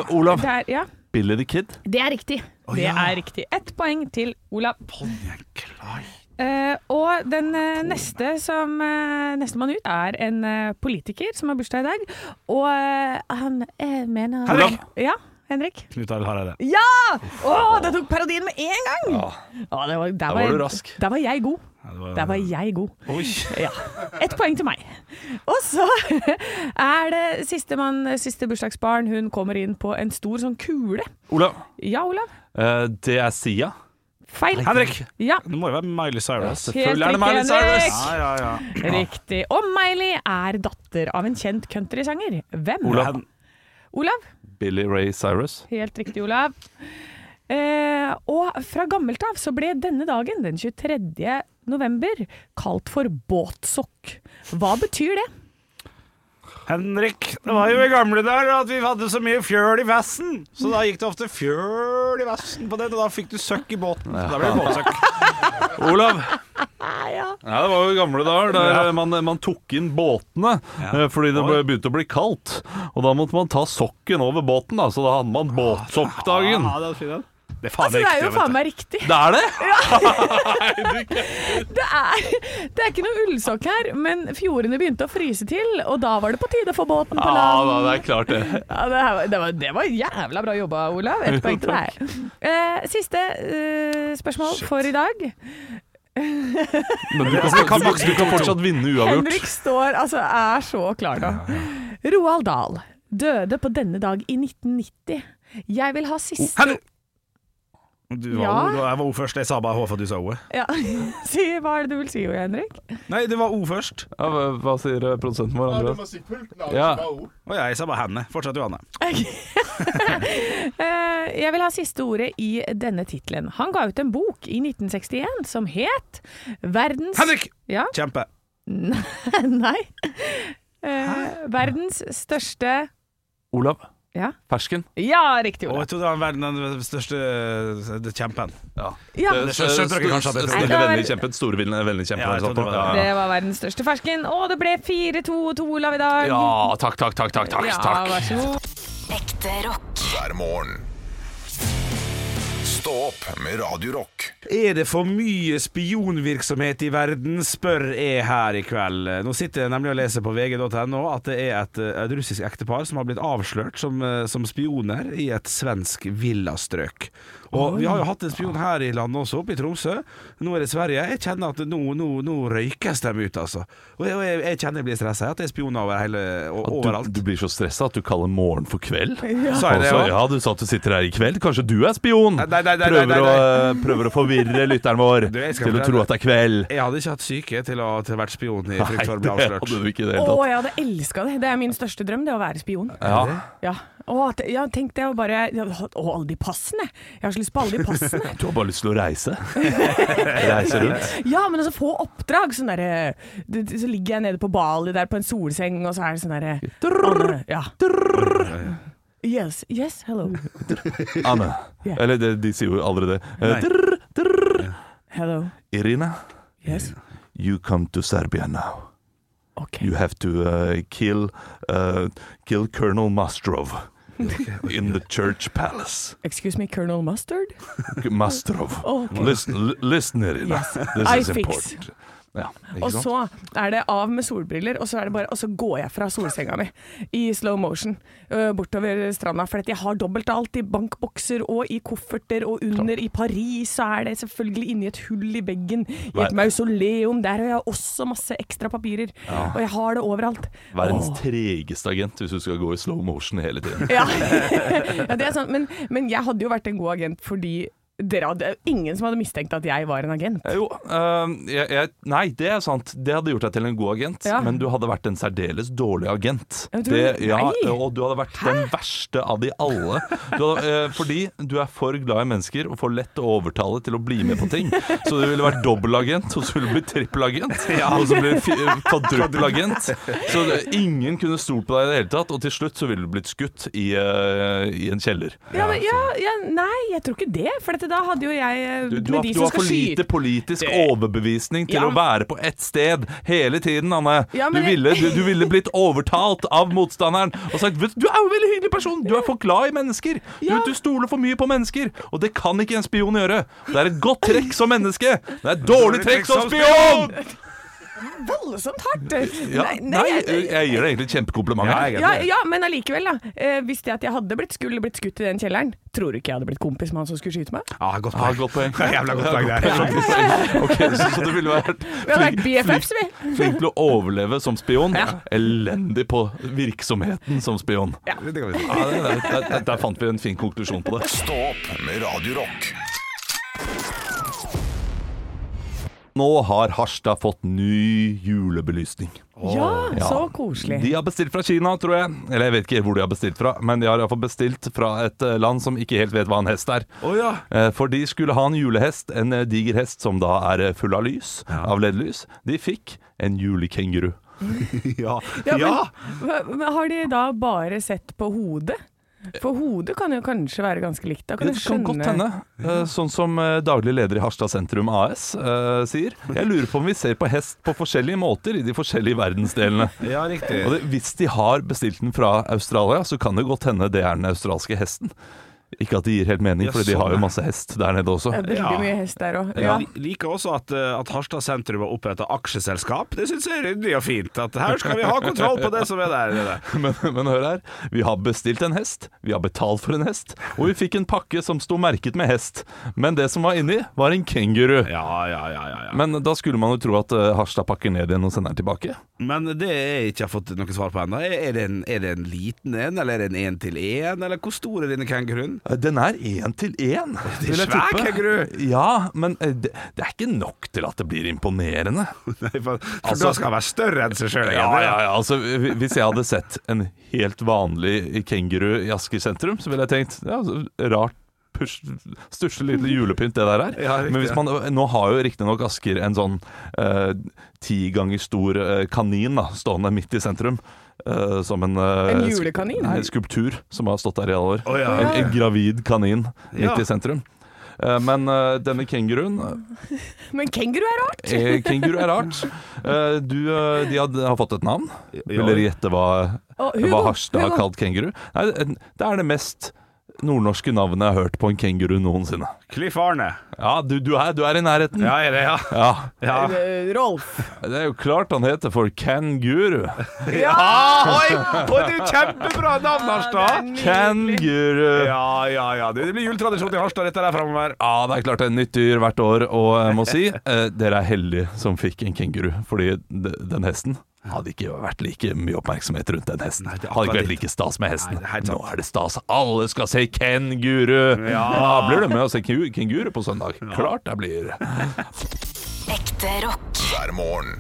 C: eh, Olav.
D: Det er, ja,
C: Billy the Kid.
D: det er riktig. Det
E: ja.
D: er riktig. Ett poeng til Olav.
E: Bonnie and Clyde.
D: Eh, og den eh, neste som uh, nestemann ut er en eh, politiker som har bursdag i dag. Og eh, han eh, mener
E: Henrik!
D: Ja, Henrik.
E: Knut Arild Hareide.
D: Ja! Å, det tok parodien med en gang! Å, det var, der,
C: var
D: jeg-
C: du rask.
D: Der var jeg god.
E: Ja, det var-
D: Der var jeg god.
E: Oi.
D: Ja. Ett poeng til meg. Og så er det sistemann, siste bursdagsbarn. Hun kommer inn på en stor sånn kule.
C: Olav.
D: Ja, Olav?
C: Eh, det er Sia.
D: Feil.
E: Henrik!
D: Ja.
E: Det må jo være Miley Cyrus.
C: Selvfølgelig er det
D: riktig,
C: Miley
D: Henrik.
C: Cyrus.
E: Ja, ja, ja.
D: Riktig. Og Miley er datter av en kjent countrysanger. Hvem?
C: Olav.
D: Olav.
C: Billy Ray Cyrus.
D: Helt riktig, Olav. Eh, og fra gammelt av så ble denne dagen, den 23. november, kalt for båtsokk. Hva betyr det?
E: Henrik, det var jo i gamle dager at vi hadde så mye fjøl i vessen. Så da gikk det ofte fjøl i vessen på det, og da fikk du søkk i båten. Så da ble det båtsøkk.
C: Olav.
D: ja.
C: Ja, det var jo i gamle dager der man, man tok inn båtene eh, fordi det ble,
E: Oi.
C: begynte å bli kaldt. Og da måtte man ta sokken over båten, da, så da hadde man båtsokkdagen.
E: Ja, den er fin, den. Det er faen
D: Altså, det er jo
E: riktig,
D: faen
E: vet
D: meg riktig.
C: Det er det!
D: Det er, det er ikke noe ullsokk her, men fjordene begynte å fryse til, og da var det på tide for båten på
C: Ja,
D: land.
C: Ah, da, det er klart det.
D: Ja, det, her var, det, var, det var jævla bra jobba, Olav. Ett poeng til deg. Eh, siste eh, spørsmål for i dag.
C: Men du kan, du, du, du kan fortsatt vinne uavgjort.
D: Henrik står altså er så klar nå. Roald Dahl døde på denne dag i 1990. Jeg vil ha siste
E: Henrik! Du var,
D: Ja.
E: o, jeg var O først. Jeg sa bare H for at du sa O.
D: ja. Si hva er det du vil si, Henrik?
E: Nei, det var O først.
C: Ja, hva, hva sier eh, produsenten vår, Andreas? Ja.
E: Og jeg sa bare henne. Fortsett, Johanne.
D: Eh, jeg vil ha siste ordet i denne tittelen. Han ga ut en bok i 1961 som het Verdens
E: Henrik!
D: Ja?
E: Kjempe.
D: Nei. Eh, verdens største
C: Olav.
D: Ja,
C: Fersken.
D: ja riktig,
E: Og
D: Olav.
E: jeg trodde han var den den største det- kjempen.
C: Eh,
D: Ja.
E: Det skjønner dere kanskje at jeg tror det.
C: Snille vennekjempen. Store vennekjempen.
E: Ja, jeg tror det var det.
C: sånn, Ja, ja.
D: Det var verdens største fersken. Og det ble 4-2 til Olav i dag.
C: ja, takk, takk, takk. takk, takk,
D: Ja,
C: takk.
D: vær så god.
G: Ekte rock.
B: hver morgen. Stå opp med Radio Rock.
E: Er det for mye spionvirksomhet i verden, spør jeg her i kveld. Nå sitter jeg nemlig og leser på vg.no at det er et, eh, et russisk ektepar som har blitt avslørt som, eh, som spioner i et svensk villastrøk. Og vi har jo hatt en spion her i landet også, oppe i Tromsø. Nå er det Sverige. Jeg kjenner at nå, nå, nå røykes de ut, altså. Og jeg, og jeg, jeg kjenner jeg blir stressa, at det er spioner over hele, og,
C: Du,
E: overalt.
C: du blir så stressa at du kaller morgen for kveld.
E: Sa jeg det,
C: Altså,
E: ja?
C: ja, du sa at du sitter her i kveld. Kanskje du er spion?
E: Nei, nei, nei, nei,
C: prøver,
E: nei, nei.
C: Å, eh, prøver å forvirre lytteren vår
E: Du, jeg skal
C: til å
E: fortelle
C: tro
E: deg.
C: at det er kveld.
E: Jeg hadde ikke hatt syke til å, til å vært spion i frykt for å bli
C: Nei, det hadde
E: avslørt.
C: du ikke i det
D: Å,
C: hele tatt.
D: jeg hadde elska det. Det er min største drøm, det å være spion.
C: Ja.
D: Ja. Å, at- ja, tenk det å bare Å, alle de passene! Jeg har så lyst på alle de passene.
C: Du har bare lyst til å reise. Reise rundt.
D: Ja, men altså få oppdrag. Sånn derre du- du- Så ligger jeg nede på Bali der på en solseng, og så er det sånn derre Ja. Yes, yes, hello.
C: Anne.
D: Ja.
C: Eller de, de sier jo aldri det. Eh,
E: Nei.
C: drr, drr.
D: Hello.
C: Irina,
D: Yes.
C: you come to Serbia now.
D: OK.
C: You have to uh, kill uh, kill Colonel Mastrov in the church palace.
D: Excuse me, Colonel Mustard?
C: Mastrov.
D: Okay.
C: Listen, li- listen Irina. This
D: I
C: is
D: fix.
C: important. Ja, ikke
D: Og
C: sant?
D: så er det av med solbriller, og så, er det bare, og så går jeg fra solsenga mi i slow motion øh, bortover stranda. For at jeg har dobbelt alt i bankbokser og i kofferter, og under i Paris så er det selvfølgelig inni et hull i veggen. I et
C: Nei.
D: mausoleum der har jeg også masse ekstra papirer. Og jeg har det overalt.
C: Verdens
D: Åh.
C: tregeste agent hvis du skal gå i slow motion hele tiden.
D: Ja, ja det er sant. Men, men jeg hadde jo vært en god agent fordi dere hadde, ingen som hadde mistenkt at jeg var en agent.
C: Eh, Jo, eh, jeg, jeg, nei, det er sant. Det hadde gjort deg til en god agent,
D: Ja.
C: men du hadde vært en særdeles dårlig agent.
D: Jeg tror-
C: Det- ja,
D: nei.
C: og du hadde vært den verste av de alle. Du hadde, eh, fordi du er for glad i mennesker og for lett å overtale til å bli med på ting. Så du ville vært dobbelagent, og så ville du bli trippelagent, og så ble du fi- kvadruppelagent. Så det- ingen kunne stolt på deg i det hele tatt, og til slutt så ville du blitt skutt i, eh, i en kjeller.
D: Ja, men, ja, ja, nei, jeg tror ikke det. For dette, da hadde jo jeg eh,
C: Du, du,
D: med
C: har,
D: de
C: du
D: som
C: har
D: skal
C: for lite
D: skyte
C: politisk overbevisning til
D: Ja.
C: å være på ett sted hele tiden, Anne.
D: Ja,
C: du,
D: men jeg-
C: ville, du, du ville blitt overtalt av motstanderen og sagt «Vet du du er jo en veldig hyggelig person, du er for glad i mennesker. Du,
D: Ja.
C: du stoler for mye på mennesker, og det kan ikke en spion gjøre. Det er et godt trekk som menneske, det er et dårlig trekk som spion!
D: voldsomt hardt!
C: Ja,
D: Nei,
C: nei,
D: jeg-
C: jeg gir deg egentlig et kjempekompliment. her.
D: ja, ja, men allikevel, da. Eh, hvis det at jeg hadde blitt, skulle blitt skutt i den kjelleren, tror du ikke jeg hadde blitt kompis med han som skulle skyte meg?
E: Ah, godt
C: Ja,
E: poeng.
C: godt poeng.
E: Jævla godt poeng der.
C: Ok, så, så du ville vært
D: Vi hadde vært
C: flink-
D: BFFs, vi.
C: Flink til å overleve som spion.
D: Ja.
C: Elendig på virksomheten som spion.
E: Det kan vi si.
C: Ja, det- det- det- det- Der fant vi en fin konklusjon på det.
B: Stå opp med Radio Rock.
C: Nå har Harstad fått ny julebelysning.
D: Ja,
C: Ja.
D: så koselig.
C: De har bestilt fra Kina, tror jeg. Eller jeg vet ikke hvor de har bestilt fra, men de har iallfall bestilt fra et eh, land som ikke helt vet hva en hest er.
E: Å ja.
C: Eh, For de skulle ha en julehest, en eh, diger hest som da er eh, full av lys, av LED-lys. De fikk en julekenguru.
E: Ja.
D: Ja, men,
E: ja.
D: hva- men Har de da bare sett på hodet? For hodet kan jo kanskje være ganske likt. Da kan
C: Det
D: jeg
C: kan
D: skjønne
C: godt hende. Eh, Sånn som eh, daglig leder i Harstad sentrum AS eh, sier. Jeg lurer på om vi ser på hest på forskjellige måter i de forskjellige verdensdelene.
E: Ja, riktig.
C: Og det, hvis de har bestilt den fra Australia, så kan det godt hende det er den australske hesten. Ikke at det gir helt mening,
E: Ja,
C: for de
E: sånn,
C: har
E: ja.
C: jo masse hest der nede også.
D: Det er Veldig
E: Ja.
D: mye hest der òg. Ja.
E: Jeg liker også at, eh, at Harstad sentrum har oppretta aksjeselskap. Det syns jeg er ryddig og fint. At her skal vi ha kontroll på det som er der. Det der.
C: Men, men hør her, vi har bestilt en hest, vi har betalt for en hest, og vi fikk en pakke som sto merket med hest. Men det som var inni, var en kenguru.
E: Ja, ja, ja, ja, ja.
C: Men da skulle man jo tro at eh, Harstad pakker ned igjen og sender den tilbake.
E: Men det jeg ikke har fått noe svar på ennå, er, er, det en- er det en liten en, eller er det en én til én, eller hvor stor er denne kenguruen?
C: Eh, Den er én til én. vil jeg
E: svær
C: tippe.
E: kenguru.
C: Ja, men eh, det, det er ikke nok til at det blir imponerende.
E: Nei, for, for
C: Altså-
E: da skal han være større enn seg sjøl.
C: Ja, ja, ja, altså hvi- Hvis jeg hadde sett en helt vanlig kenguru i Asker sentrum, så ville jeg tenkt ja, så rart pus- stusslig lille julepynt det der er.
E: Ja, riktig.
C: Men hvis man, nå har jo riktignok Asker en sånn eh, ti ganger stor eh, kanin da, stående midt i sentrum. eh, som en, eh,
D: En
C: sku-
D: julekanin?
C: Nei, en skulptur som har stått der i alle år.
E: Å, ja.
C: en, en gravid kanin midt
E: Ja.
C: i sentrum. Eh, men eh, denne kenguruen
D: Men kenguru er rart!
C: eh, Kenguru er rart. Eh, du, eh, de hadde, har fått et navn. Vil dere gjette hva,
D: Å, Hugo,
C: hva Harstad har
D: Hugo.
C: kalt kenguru? Nei, eh, det er det mest nordnorske navnet jeg har hørt på en kenguru noensinne.
E: Cliff Arne.
C: Ja, du, du, er, du er i nærheten.
E: Ja, er det, ja.
C: Ja.
E: ja.
D: Eh, Rolf.
C: Det er jo klart han heter for Kenguru.
E: Ja! Oi! Og det er jo kjempebra navn, Harstad!
C: Kenguru. Ja.
E: Ja, ja, ja. Det det blir juletradisjon i Harstad, dette der framover.
C: det er klart det er nytt dyr hvert år, og jeg må si eh, dere er heldige som fikk en kenguru. Fordi de- den hesten hadde ikke vært like mye oppmerksomhet rundt den hesten.
E: Nei, det er
C: hadde ikke
E: akkurat
C: vært like stas med hesten.
E: Nei, det er helt sant.
C: Nå er det stas. Alle skal se kenguru! Ja. Da blir det med å se kengu- kenguru på søndag. Klart det blir.
G: Ekte rock.
B: hver morgen.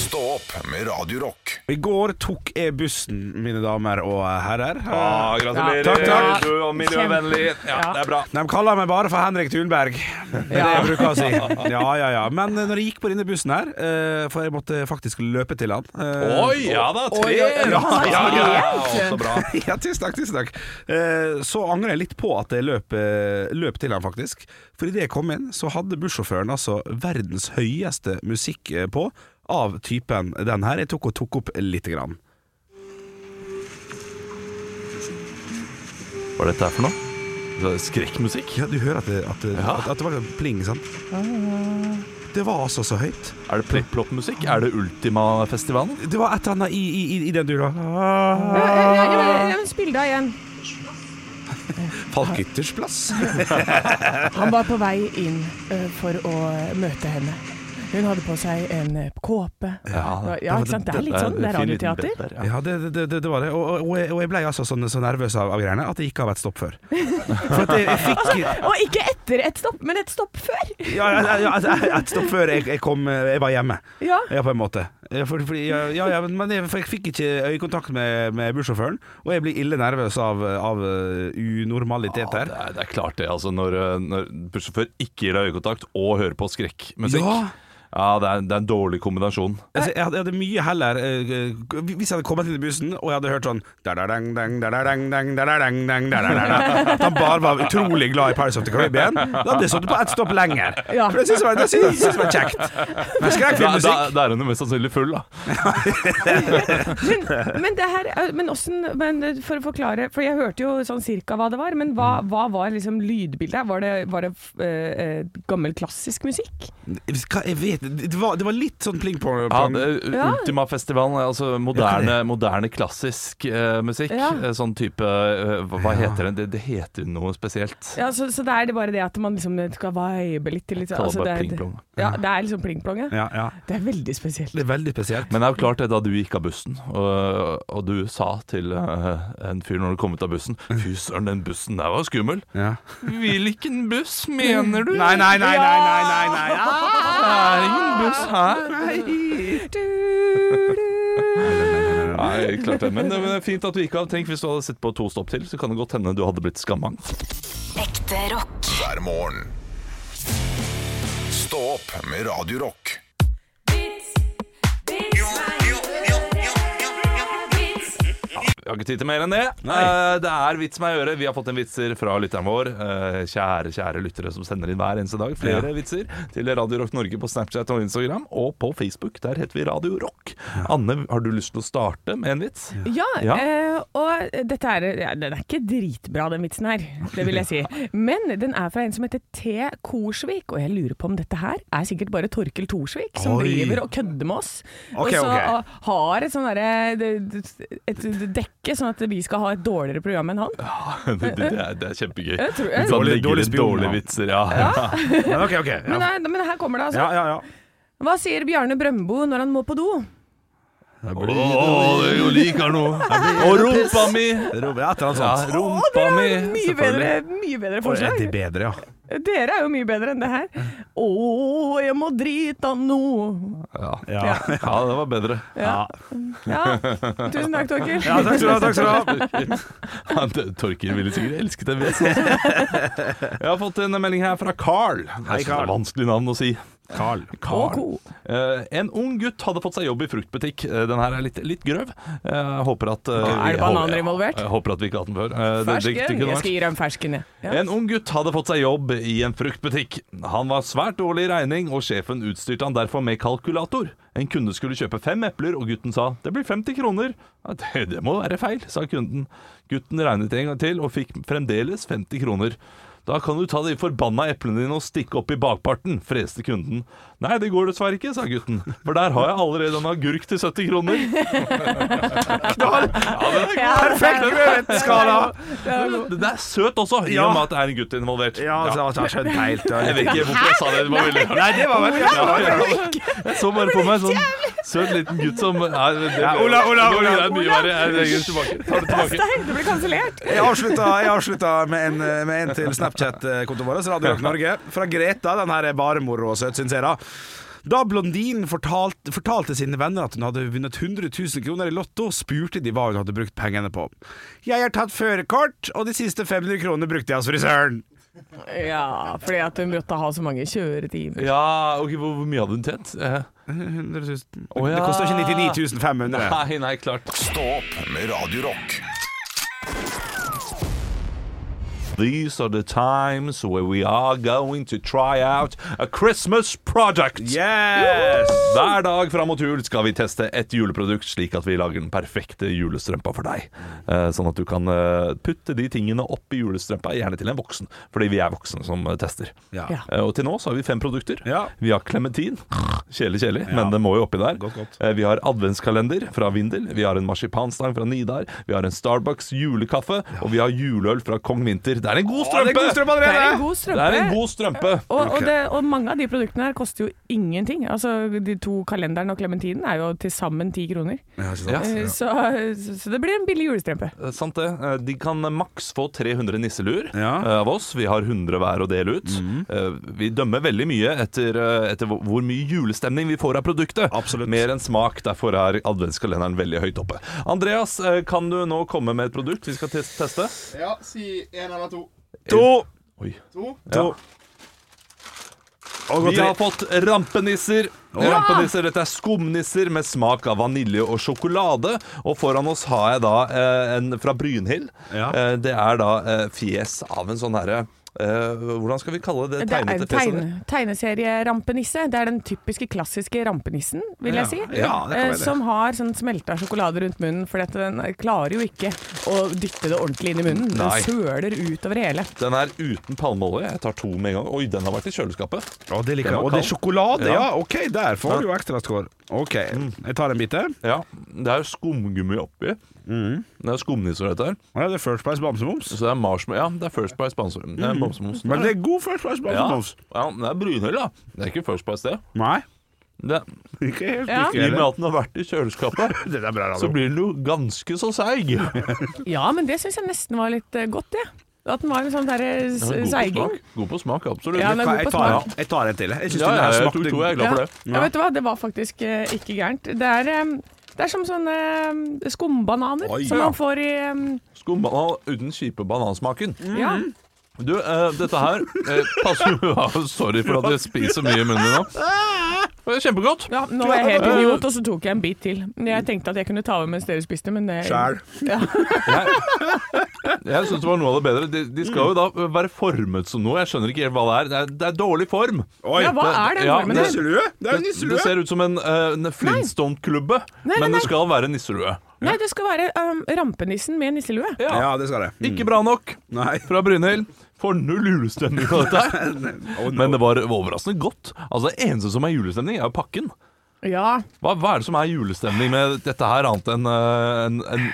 B: Stå opp med Radio Rock.
E: I går tok jeg bussen, mine damer og herrer.
C: Ah, gratulerer.
E: Ja, takk, takk.
C: Du er miljøvennlig. Ja,
D: Ja.
C: Det er bra.
E: De kaller meg bare for Henrik Thunberg. Det er det jeg bruker å si. Ja, ja, ja. Men eh, når jeg gikk på denne bussen her, eh, for jeg måtte faktisk løpe til han eh,
C: Oi, ja da. Tre.
D: Oi, oi, oi.
C: Ja, ja, ja,
D: Trent.
C: så bra.
E: Ja, tusen takk, tusen takk. Eh, Så angrer jeg litt på at jeg løp, eh, løp til han faktisk. For idet jeg kom inn, så hadde bussjåføren altså verdens høyeste musikk eh, på av typen den her. Jeg tok og tok opp lite grann.
C: Hva er dette her for noe? Så er det Skrekkmusikk?
E: Ja, du hører at det, at det, at, at det var pling, sant? Det var altså så høyt.
C: Er det plipp-plopp-musikk? Er det Ultima-festivalen?
E: Det var et eller annet i, i, i- i den dura.
D: Ja, ja, ja, ja, ja, men Spill det av igjen.
E: Falkytters plass.
D: Han var på vei inn ø, for å eh, møte henne. Hun hadde på seg en ø, kåpe. Ja, ikke sant? Det er litt sånn. Det er
C: en fin liten
D: radioteater.
C: bit der, ja.
E: Ja, det, det, det, det var det. Og, og- og, jeg, og jeg ble altså sånn, så nervøs av, av greiene at jeg ikke har vært stopp før. For at jeg, jeg fikk
D: Og ikke etter et stopp, men et stopp før.
E: Ja, ja, ja, ja, et stopp før jeg, jeg kom Jeg var hjemme.
D: Ja.
E: Ja, på en måte. Ja, For, fordi, ja, ja, ja, men- men jeg, for jeg fikk ikke øyekontakt med, med bussjåføren, og jeg blir ille nervøs av, av uh,
C: Ja,
E: unormaliteter.
C: det, er, det er klart det, altså. Når, eh, når bussjåfør ikke gir deg øyekontakt og hører på skrekkmusikk.
E: Ja.
C: Ja, det er, det er en dårlig kombinasjon.
E: Altså, jeg, hadde, jeg hadde mye heller eh, eh, Hvis jeg hadde kommet inn i bussen og jeg hadde hørt sånn da-da-dang, dang, da-da-dang, dang, da-da-dang, dang, da-da-dang, At han bare var utrolig glad i Pirates of the Caribbean, da hadde jeg stått på ett stopp lenger.
D: Ja.
E: For det syns jeg var, det synes- synes jeg var kjekt. Men
C: Da, da,
E: skrekkfilmmusikk
C: da er hun jo mest sannsynlig full, da.
D: Men, men det her ø, Men åssen men ø, For å forklare, for jeg hørte jo sånn cirka hva det var, men hva,
C: Mm.
D: hva var liksom lydbildet? Var det, var det ø, ø, gammel klassisk musikk?
E: Hva- Jeg vet Det var, det var litt sånn pling på
C: Ja,
E: på-
C: det,
D: Ja.
C: Ultima-festivalen, altså moderne, moderne klassisk eh, musikk.
D: Ja.
C: Eh, Sånn type eh, Hva hva heter den? Det, det heter noe spesielt.
D: Ja, så, så det er det bare det at man liksom skal vibe litt til litt
C: Kaller det bare
D: altså, det, er,
C: pling-plong.
D: ja, det er liksom pling-plong, ja.
E: Ja, ja.
D: Det er veldig spesielt.
E: Det er veldig spesielt.
C: Men det er jo klart det da du gikk av bussen, og, og du sa til eh, en fyr når du kom ut av bussen Fy søren, den bussen der var skummel.
E: Ja.
C: Hvilken buss mener du?
E: Nei, nei, nei, nei, nei, nei, nei. Ah!
C: Det er ingen buss her. Nei, klart det. Men det men det er fint at du gikk av. Tenk hvis du hadde sett på to stopp til, så kan det godt hende du hadde blitt skamma.
G: Ekte rock.
B: hver morgen. Stå opp med Radio Rock.
C: Vi har ikke tid til mer enn det. Eh, det er vits meg i øret. Vi har fått en vitser fra lytteren vår. Eh, kjære, kjære lyttere som sender inn hver eneste dag flere vitser til Radio Rock Norge på Snapchat og Instagram, og på Facebook. Der heter vi Radio Rock. Anne, har du lyst til å starte med en vits?
D: Ja,
C: Ja.
D: eh, og dette er, ja, den er ikke dritbra, den vitsen her. Det vil jeg si. Men den er fra en som heter T. Korsvik, og jeg lurer på om dette her er sikkert bare Torkel Thorsvik som
E: Oi.
D: driver og kødder med oss.
E: Ok,
D: og så
E: ok.
D: og har et sånn derre det- det- Et dekke, sånn at vi skal ha et dårligere program enn han.
C: det, det, er, det er kjempegøy.
D: Jeg tror- jeg-
C: Sånn
E: Dårlig-
C: legger
E: dårlig
C: inn
E: spion,
C: dårlige
E: da.
C: vitser, ja.
E: Men OK, OK.
D: Men,
E: Ja,
D: nei, men her kommer det, altså.
E: ja, ja. ja.
D: Hva sier Bjarne Brøndbo når han må på do?
C: Å, det er jo lik her nå. Og rumpa mi!
E: Robert, et eller annet
C: Ja,
E: sånt.
C: rumpa mi.
D: Mye
C: selvfølgelig.
D: bedre, mye bedre
E: Og er
D: forslag.
E: de bedre, ja.
D: Dere er jo mye bedre enn det her. Å, jeg må drita nå.
C: Ja.
E: Ja.
C: ja, det var bedre.
D: Ja. ja. Tusen takk, Torkel.
E: Ja, takk skal du ha. takk skal du ha
C: Han Torkil ville sikkert elsket en vits også. Jeg har fått en melding her fra Carl.
E: Hei, Carl.
C: Det er vanskelig navn å si.
E: Carl.
C: Carl.
D: Åko.
C: Eh, en ung gutt hadde fått seg jobb i fruktbutikk. Eh, den her er litt, litt grøv. Eh, Jeg håper at eh,
D: Er det
C: vi-
D: bananer
C: jeg-
D: involvert?
C: Jeg håper at vi ikke har hatt den før. Eh, det- det- det kunne
D: Fersken. Jeg
C: vært.
D: skal gi deg en fersken, jeg. Ja.
C: En ung gutt hadde fått seg jobb i en fruktbutikk. Han var svært dårlig i regning, og sjefen utstyrte han derfor med kalkulator. En kunde skulle kjøpe fem epler, og gutten sa 'det blir 50 kroner'. Ja, det, det må være feil, sa kunden. Gutten regnet en gang til, og fikk fremdeles 50 kroner. Da kan du ta de forbanna eplene dine og stikke opp i bakparten, freste kunden. Nei, det går dessverre ikke, sa gutten, for der har jeg allerede en agurk til 70 kroner. Knall! Ja, den er god.
E: Perfekt rødskala!
C: Den er søt også, i og med at det er en gutt involvert.
E: Ja, altså, altså, jeg skjønte helt ja.
C: Jeg vet ikke hvorfor jeg sa det. Det var veldig rart.
E: Nei, det var veldig ja, ja, ja.
C: Jeg så bare på meg en sånn søt liten gutt som Nei, det, det,
E: Ja, Ola, Ola, Ola.
C: Det er mye verre. Jeg legger det tilbake. Tar det tilbake.
D: Stein, det blir kansellert.
E: Jeg avslutta, jeg avslutta med, en, med en til Snapchat-kontoen vår, altså Radio Rock Norge. Fra Greta. Den her er bare moro og søt, syns jeg, da. Da blondinen fortalte, fortalte sine venner at hun hadde vunnet 100 000 kroner i Lotto, spurte de hva hun hadde brukt pengene på. 'Jeg har tatt førerkort, og de siste 500 kronene brukte jeg hos frisøren'.
D: Ja, fordi at hun måtte ha så mange kjøretimer.
C: Ja, ok, hvor, hvor mye hadde hun tjent? Eh,
E: 100 000.
C: Å, ja.
E: Det koster ikke 99 500.
C: Nei, nei, klart.
B: Stå opp med Radio Rock.
C: These are the times where we are going to try out a Christmas product.
E: Yes!
C: Hver dag fram mot jul skal vi teste et juleprodukt, slik at vi lager den perfekte julestrømpa for deg. Eh, Sånn at du kan eh, putte de tingene opp i julestrømpa, gjerne til en voksen. Fordi vi er voksne som eh, tester.
E: Ja.
D: Ja.
C: Eh, Og til nå så har vi fem produkter.
E: Ja.
C: Vi har klementin. Kjedelig, kjedelig, men det må jo oppi der.
E: Godt, godt.
C: Eh, Vi har adventskalender fra Vindel. Vi har en marsipanstang fra Nidar. Vi har en Starbucks julekaffe. Og vi har juleøl fra Kong Vinter. Det er en god
E: Å, det
C: strømpe!
E: er god
D: Det er
E: strøm
D: en
E: allerede!
D: god
C: Det
D: strømpe.
C: er en god strømpe.
D: og, og, det, og mange av de produktene her koster jo ingenting. Altså De to kalenderen og klementinen er jo til sammen ti kroner.
E: Ja, ikke sant?
C: Ja.
D: Eh, Så, så det blir en billig julestrømpe.
C: Eh, Sant det. Eh, De kan maks få 300 nisseluer
E: Ja. Mhm.
C: eh, av oss. Vi har 100 hver å dele ut. Eh, Vi dømmer veldig mye etter, eh, etter hvor- hvor mye julestemning vi får av produktet.
E: Absolutt.
C: Mer enn smak. Derfor er adventskalenderen veldig høyt oppe. Andreas, eh, kan du nå komme med et produkt vi skal tes- teste?
H: Ja, si én eller to.
E: To,
C: Oi.
H: To.
E: to. Og gå
C: Vi
E: til-
C: har fått rampenisser. rampenisser. Dette er skumnisser med smak av vanilje og sjokolade. Og foran oss har jeg da eh, en fra Brynhild.
E: Ja.
C: Eh, det er da eh, fjes av en sånn herre eh, Hvordan skal vi kalle det?
D: Det er
C: Tegnete
D: tegne,
C: fjes?
D: tegneserie-rampenisse. Det er den typiske klassiske rampenissen, vil jeg si.
E: Ja, det kan
D: Eh,
E: være det.
D: Som har sånn smelta sjokolade rundt munnen, for dette, den klarer jo ikke å dytte det ordentlig inn i munnen. Den
C: Nei.
D: søler utover hele.
C: Den er uten palmeolje. Jeg tar to med en gang. Oi, den har vært i kjøleskapet.
E: Å, det
C: Den
E: liker jeg.
C: var
E: Og det er
C: kald.
E: sjokolade, ja. Mm.
C: Ja.
E: OK, der får du jo ekstra score. OK, jeg tar en bit til.
C: Ja, Det er jo skumgummi oppi.
E: Mm.
C: Det er skumnisser, dette her.
E: Ja, det er First Price Bamsemums.
C: Så det er marshmallow. Ja, det er First Price sponsor. Det er bamsemums.
E: Men det Mm. er god First Price
C: ja.
E: Bamsemums.
C: ja, men det er Brynhild, da. Det er ikke First Price, det.
E: Nei,
C: det.
E: ikke helt
D: Ja.
C: I og med
E: like.
C: at den har vært i kjøleskapet,
E: Det er bra
C: så
E: radio.
C: blir den jo ganske så seig.
D: Ja, men det syns jeg nesten var litt eh, godt, det. At den var en sånn derre s-
C: God på
D: seiging.
C: smak. God på smak, absolutt.
D: Ja, den er god
E: Jeg
D: på
E: tar,
D: smak.
E: en- jeg tar en til. jeg. Jeg synes
C: Ja,
E: den her
C: ja, jeg
E: smakte-
C: tror to er glad for det.
D: Ja. vet du hva, det var faktisk eh, ikke gærent. Det er, eh, det er som sånne eh, skumbananer
E: Oi,
D: som
E: ja.
D: man får i eh,
C: Skumbanan uten kjipe banansmaken.
D: Ja.
C: Du, eh, dette her eh, passer jo ja, Sorry for at jeg spiser mye i munnen min nå. Det er kjempegodt.
D: Ja, nå var jeg helt idiot, og så tok jeg en bit til. Jeg tenkte at jeg kunne ta over mens dere spiste, men det
E: Skjær.
C: Jeg syns det var noe av det bedre. De, de skal jo da være formet som noe. Jeg skjønner ikke helt hva det er. Det er, det er dårlig form.
E: Oi,
D: Ja, hva
C: det-
D: er den
C: ja,
D: formen
C: det-
D: her?
E: nisselue! Det er
C: Det,
E: en
C: det
E: nisselue!
C: ser ut som en, eh, en Flintstone-klubbe,
D: nei,
C: men
D: nei.
C: det skal være nisselue.
D: Nei, det skal være um, rampenissen med nisselue.
E: Ja, det skal det. Mm.
C: Ikke bra nok
E: Nei.
C: fra Brynhild. Får null julestemning av dette her.
E: Oh, no.
C: Men det var overraskende godt. Altså Det eneste som er julestemning, er jo pakken.
D: Ja.
C: Hva, hva er det som er julestemning med dette her, annet enn eh, en, en,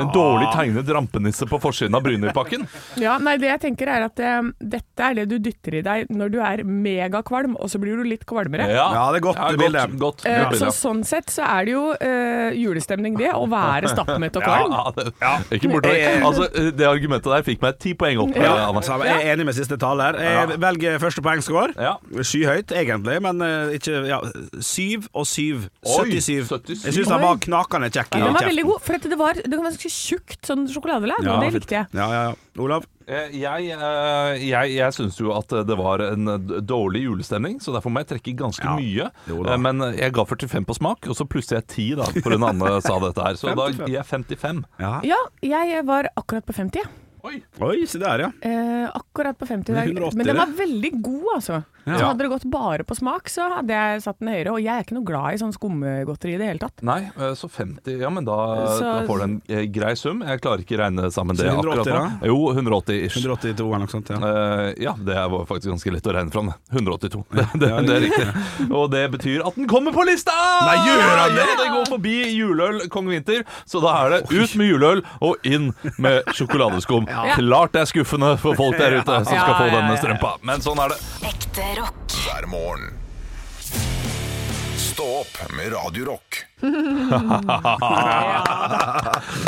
C: en dårlig tegnet rampenisse på forsiden av Brynhild-pakken?
D: ja. Nei, det jeg tenker er at um, dette er det du dytter i deg når du er megakvalm, og så blir du litt kvalmere.
E: Ja, det er godt, det
C: godt,
E: bildet.
C: godt,
D: Eh,
C: godt
D: så
C: bilde.
D: sånn sett så er det jo eh, julestemning, det, å være stappmett og
C: Ja,
D: kvalm.
C: ja, det, Ikke borte
E: Eh,
C: Altså, eh, det argumentet der fikk meg ti poeng opp. eh,
E: Ja,
C: Anna.
E: samme. jeg er enig med siste taler. Jeg velger første poengscore.
C: Ja.
E: Skyhøyt, egentlig, men eh, ikke ja, Syv og syv.
C: Oi,
E: 77.
C: 77.
E: Jeg syns den var knakende kjekk i
D: Den var veldig
E: kjeften.
D: god, for at det var, det var ganske tjukt sånn sjokoladelag, og det
E: fint.
D: likte jeg.
E: Ja, ja, ja. Olav?
C: Eh, Jeg, eh, jeg, jeg syns jo at det var en d- dårlig julestemning, så derfor må jeg trekke ganske
E: Ja,
C: mye.
E: jo da.
C: Eh, Men jeg ga 45 på smak, og så plusser jeg 10 da, for en annen sa dette her. Så da
E: 55.
C: gir jeg 55.
D: Ja, jeg var akkurat på 50. jeg.
E: Oi, se der, ja.
D: Eh, akkurat på 50
E: Men
D: der.
E: 180,
D: Men den var
E: det.
D: veldig god, altså. Så hadde det gått bare på smak, så hadde jeg satt den høyere. Og jeg er ikke noe glad i sånn skummegodteri i det hele tatt.
C: Nei, eh, så 50 Ja, men da,
D: Så-
C: da får du en eh, grei sum. Jeg klarer ikke regne sammen det
E: Så 180
C: akkurat nå. Jo, 180 ish.
E: 182 eller noe sånt. Ja.
C: Eh, ja, det var faktisk ganske lett å regne fram. det. 182. Det, det, det er riktig. Og det betyr at den kommer på lista! Nei, gjør han det?! Ja, det går forbi juleøl Kong Vinter, så da er det ut med juleøl og inn med sjokoladeskum. Klart det er skuffende for folk der ute som skal
D: Ja,
C: få
D: ja,
C: denne
D: ja.
C: strømpa, men sånn er det.
G: Ekte rock.
B: hver morgen. Stå opp med Radio Rock.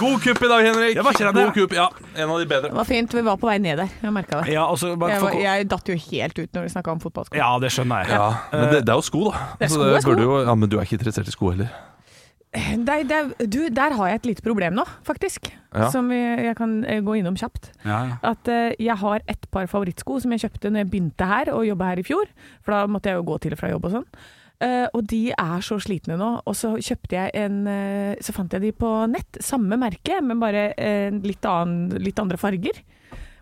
C: God kupp i dag, Henrik.
E: var ikke den der.
C: God kupp, ja, En av de bedre.
D: Det var fint, vi var på vei ned der. Jeg merka det.
E: Ja, altså, bare
D: Jeg,
E: for-
D: var, jeg datt jo helt ut når vi snakka om fotballsko.
E: ja, det skjønner jeg.
C: Ja, men det, det er jo sko, da.
D: er
C: Så
D: sko, det er sko.
C: burde Jo, ja, men du er ikke interessert i sko heller.
D: Nei, det er- du, der har jeg et lite problem nå, faktisk.
C: Ja.
D: Som jeg, jeg kan eh, gå innom kjapt.
E: Ja, ja.
D: At eh, jeg har et par favorittsko som jeg kjøpte når jeg begynte her og jobba her i fjor. For da måtte jeg jo gå til og fra jobb og sånn. Eh, og de er så slitne nå. Og så kjøpte jeg en eh, Så fant jeg de på nett. Samme merke, men bare eh, litt, annen, litt andre farger.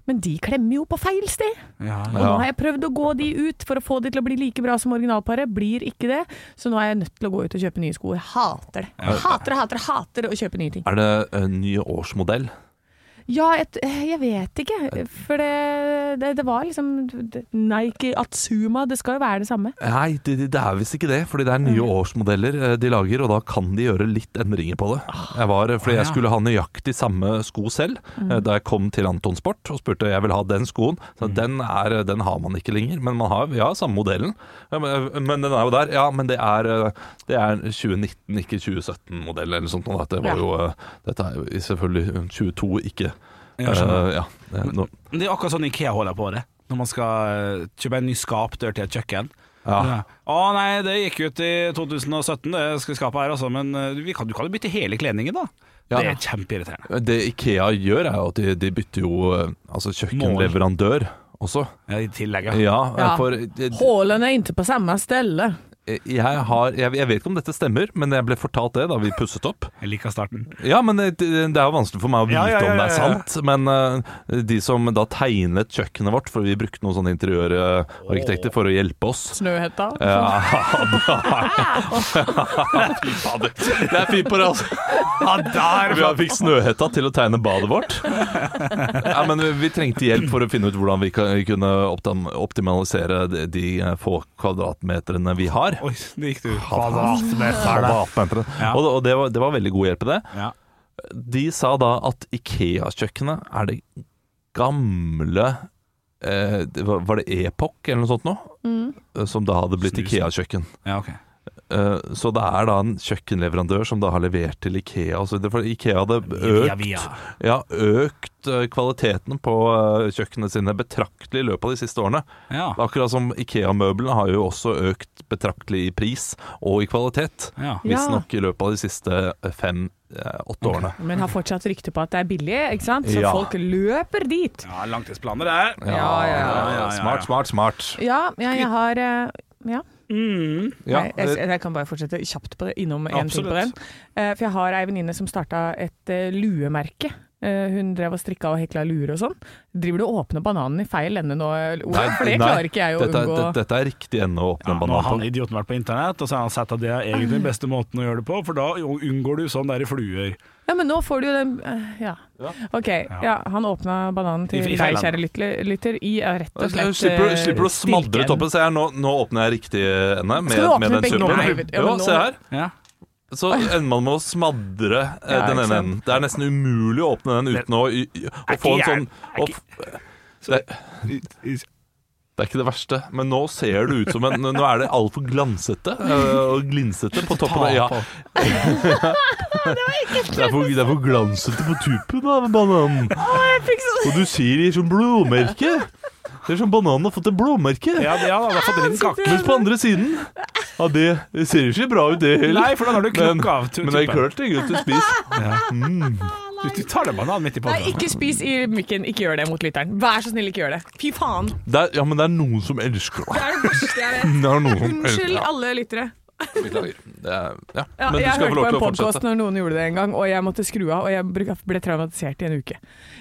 D: Men de klemmer jo på feil sted.
E: Ja,
D: Og nå har jeg prøvd å gå de ut for å få de til å bli like bra som originalparet. Blir ikke det. Så nå er jeg nødt til å gå ut og kjøpe nye sko. Jeg hater det. Hater, hater, hater å kjøpe nye ting.
C: Er det en ny årsmodell?
D: Ja, jeg, t- jeg vet ikke. For det, det, det var liksom det- Nike Atsuma, det skal jo være det samme.
C: Nei, det, det- det er visst ikke det. Fordi det er nye årsmodeller eh, de lager, og da kan de gjøre litt endringer på det.
E: Ah.
C: Jeg var, eh, fordi jeg skulle ha nøyaktig samme sko selv
E: Mm.
C: eh, da jeg kom til Anton Sport og spurte jeg vil ha den skoen. Så den, er, eh, den har man ikke lenger, men man har ja, samme modellen. Ja, men, eh, men den er jo der. Ja, men det er, eh, det er 2019, ikke 2017-modell eller sånt. noe, at Det
D: Ja.
C: var jo, eh, dette er jo selvfølgelig 22, ikke
E: Jeg skjønner.
C: eh, ja, eh, nå-
E: Men det er akkurat sånn Ikea holder på det. Når man skal eh, kjøpe en ny skapdør til et kjøkken.
C: Ja.
E: Å nei, det gikk ut i 2017, det skal skapet her, altså. Men eh, vi kan, du kan jo bytte hele kledningen, da.
C: Ja.
E: Det er kjempeirriterende.
C: Det Ikea gjør er jo at de, de bytter jo eh, altså kjøkkenleverandør også.
E: Ja, I tillegg, ja.
C: Ja,
D: Ja.
C: for eh,
D: Hålene er ikke på samme sted.
C: jeg har jeg, jeg vet ikke om dette stemmer, men jeg ble fortalt det da vi pusset opp.
E: Jeg liker starten.
C: Ja, men det, det er jo vanskelig for meg å vite
E: Ja, ja, ja,
C: om det
E: ja,
C: er
E: ja.
C: sant. Men eh, de som da tegnet kjøkkenet vårt, for vi brukte noen sånne interiørarkitekter for å hjelpe oss
D: Snøhetta.
C: Ja, fy fader. Det er fint på det, altså. Vi fikk Snøhetta til å tegne badet vårt. Ja, men vi trengte hjelp for å finne ut hvordan vi kan- kunne optim- optimalisere de- de eh, få kvadratmeterne vi har.
E: Oi, det gikk du.
C: Kvadratmeterne.
E: Ja.
C: Og, og det, var, det var veldig god hjelp i det.
E: Ja.
C: De sa da at Ikea-kjøkkenet er det gamle eh, det var- Var det Epoch eller noe sånt nå? Som da hadde blitt
E: Snusen.
C: Ikea-kjøkken.
E: ja, ok.
C: Eh, Så det er da en kjøkkenleverandør som da har levert til Ikea. og så videre, for Ikea hadde
E: Via,
C: økt,
E: via.
C: ja, økt eh, kvaliteten på eh, kjøkkenene sine betraktelig i løpet av de siste årene.
E: Ja.
C: Det er Akkurat som Ikea-møblene har jo også økt betraktelig i pris og i kvalitet.
E: Ja.
C: Visstnok i løpet av de siste eh, fem-åtte årene.
D: Men har fortsatt rykte på at det er billig, ikke sant? så
C: Ja.
D: folk løper dit.
E: ja, langtidsplaner der.
D: Ja, ja,
E: ja, ja, ja.
C: Smart, smart, smart.
D: Ja, ja jeg har eh, ja.
E: Mm.
C: Ja,
D: Nei, jeg, jeg kan bare fortsette kjapt på det, innom en ting på den.
E: Absolutt.
D: Eh, for jeg har ei venninne som starta et eh, luemerke. Eh, hun drev og strikka og hekla luer og sånn. Driver du og åpner bananen i feil ende nå, eh, Ole?
C: Nei,
D: For det
C: nei,
D: klarer ikke jeg å
C: eh, dette, er-
D: unngå.
C: det- Dette er riktig ende å åpne
E: Ja,
C: en
E: nå har han
C: banan på.
E: idioten vært på internett, og så har han sett at det er egentlig den beste måten å gjøre det på, for da unngår du sånn der fluer.
D: Ja, men nå får du jo den eh, Ja. OK. Ja, han åpna bananen til
E: I- i
D: deg,
E: feil ende.
D: kjære lytter, lytter, i eh, rett og slett
C: Slipper,
D: eh,
C: slipper å smadre
D: stilken.
C: toppen. Se her, nå, nå åpner jeg riktig ende med,
D: Skal du åpne
C: med den
D: begge
C: tuppen.
D: nå? Nei, vet- ja,
C: Jo,
D: men nå-
C: se her.
E: Ja.
C: Så ender man med å smadre eh,
D: Ja,
C: den
D: ikke
C: ene
D: sant?
C: enden. Det er nesten umulig å åpne den uten å, i- i- å få en sånn å, f- det, det er ikke det verste, men nå ser det ut som en Nå er det altfor glansete eh, og glinsete på toppen. av- Ja. Det er for, det er for glansete på tuppen av bananen. Og du ser det som blåmerke. Det er som bananen har fått et blåmerke.
E: Ja, det- ja, da har fått en liten kake.
C: Mens på andre siden Ja, det ser ikke bra ut, det heller.
E: Nei, for da har du
C: Men-
E: knokka av tu-
C: Men det er
E: tuppen.
C: klart det er godt å spise.
E: Du, du tar deg bananen midt i
D: Nei,
E: potten.
D: ikke spis i mikken. Ikke gjør det mot lytteren. Vær så snill, ikke gjør det. Fy faen.
C: Det er, ja, men det er noen som elsker det.
D: Det er det verste jeg vet.
C: Det er noen som elsker
D: Unnskyld, alle lyttere.
C: det. Beklager. Det er, ja.
D: Ja,
C: Men du
D: jeg
C: skal
D: hørte
C: få lov
D: på
C: til
D: en
C: å
D: podcast
C: fortsette.
D: når noen gjorde det en gang, og jeg måtte skru av, og jeg bruk- ble traumatisert i en uke.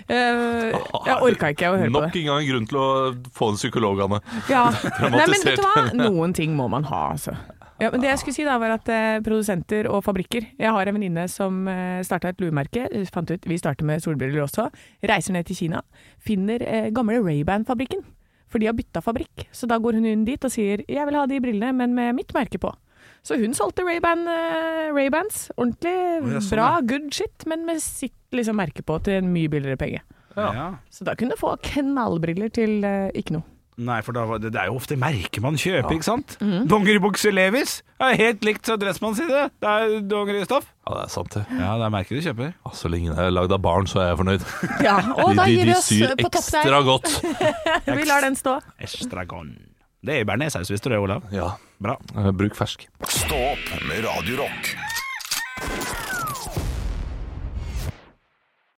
D: Eh, jeg orka ikke å høre på
C: Ah, Nok
D: det.
C: en gang grunn til å få en psykolog, Anne.
D: Ja. Nei, men vet du hva? Noen ting må man ha, altså. Ja, men det jeg skulle si da var at eh, Produsenter og fabrikker Jeg har en venninne som eh, starta et luemerke. eh, Fant ut, Vi starter med solbriller også. Reiser ned til Kina. Finner eh, gamle Ray-Ban-fabrikken. For de har bytta fabrikk. Så da går hun inn dit og sier 'jeg vil ha de brillene, men med mitt merke på'. Så hun solgte Ray-Ban, eh, Ray-Bans. Ordentlig
E: ja, sånn,
D: bra, good shit, men med sitt liksom, merke på til en mye billigere penge.
E: Ja.
D: Så da kunne du få knallbriller til eh, ikke noe.
E: Nei, for da, var- det, det er jo ofte merker man kjøper, ikke sant? Dongeribukse Levis er helt likt som dressmann sine. Det er dongeristoff.
C: Ja, det er sant, det.
E: Ja, det er merker du kjøper.
C: Ja, Så lenge det er lagd av barn, så er jeg fornøyd.
D: Ja, og
C: De,
D: da
C: de,
D: gir vi
C: de
D: oss
C: syr
D: på topp der.
C: ekstra godt.
D: Vi lar den stå.
E: Estragon. Det er bearnéssaus, visste du det, Olav?
C: Ja.
E: Bra.
C: Eh, Bruk fersk.
B: Stå opp med Radio Rock.